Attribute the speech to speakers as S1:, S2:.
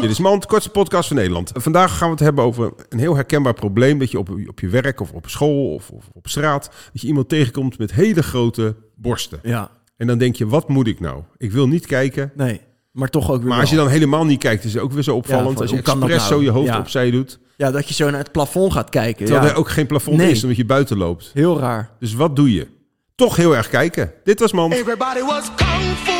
S1: Dit is Mand, kortste podcast van Nederland. Vandaag gaan we het hebben over een heel herkenbaar probleem dat je op, op je werk of op school of, of op straat, dat je iemand tegenkomt met hele grote borsten.
S2: Ja,
S1: En dan denk je, wat moet ik nou? Ik wil niet kijken.
S2: nee. Maar toch ook weer
S1: Maar als je
S2: wel.
S1: dan helemaal niet kijkt, is het ook weer zo
S2: Ja,
S1: opvallend.
S2: van,
S1: als je
S2: hoe kan dat
S1: expres
S2: nou?
S1: zo je hoofd
S2: Ja.
S1: opzij doet,
S2: Ja, dat je zo naar het plafond gaat kijken.
S1: terwijl
S2: ja.
S1: er ook geen plafond
S2: Nee.
S1: is omdat je buiten loopt.
S2: Heel raar.
S1: Dus wat doe je? Toch heel erg kijken. Dit was Mand.
S3: Everybody was kung fu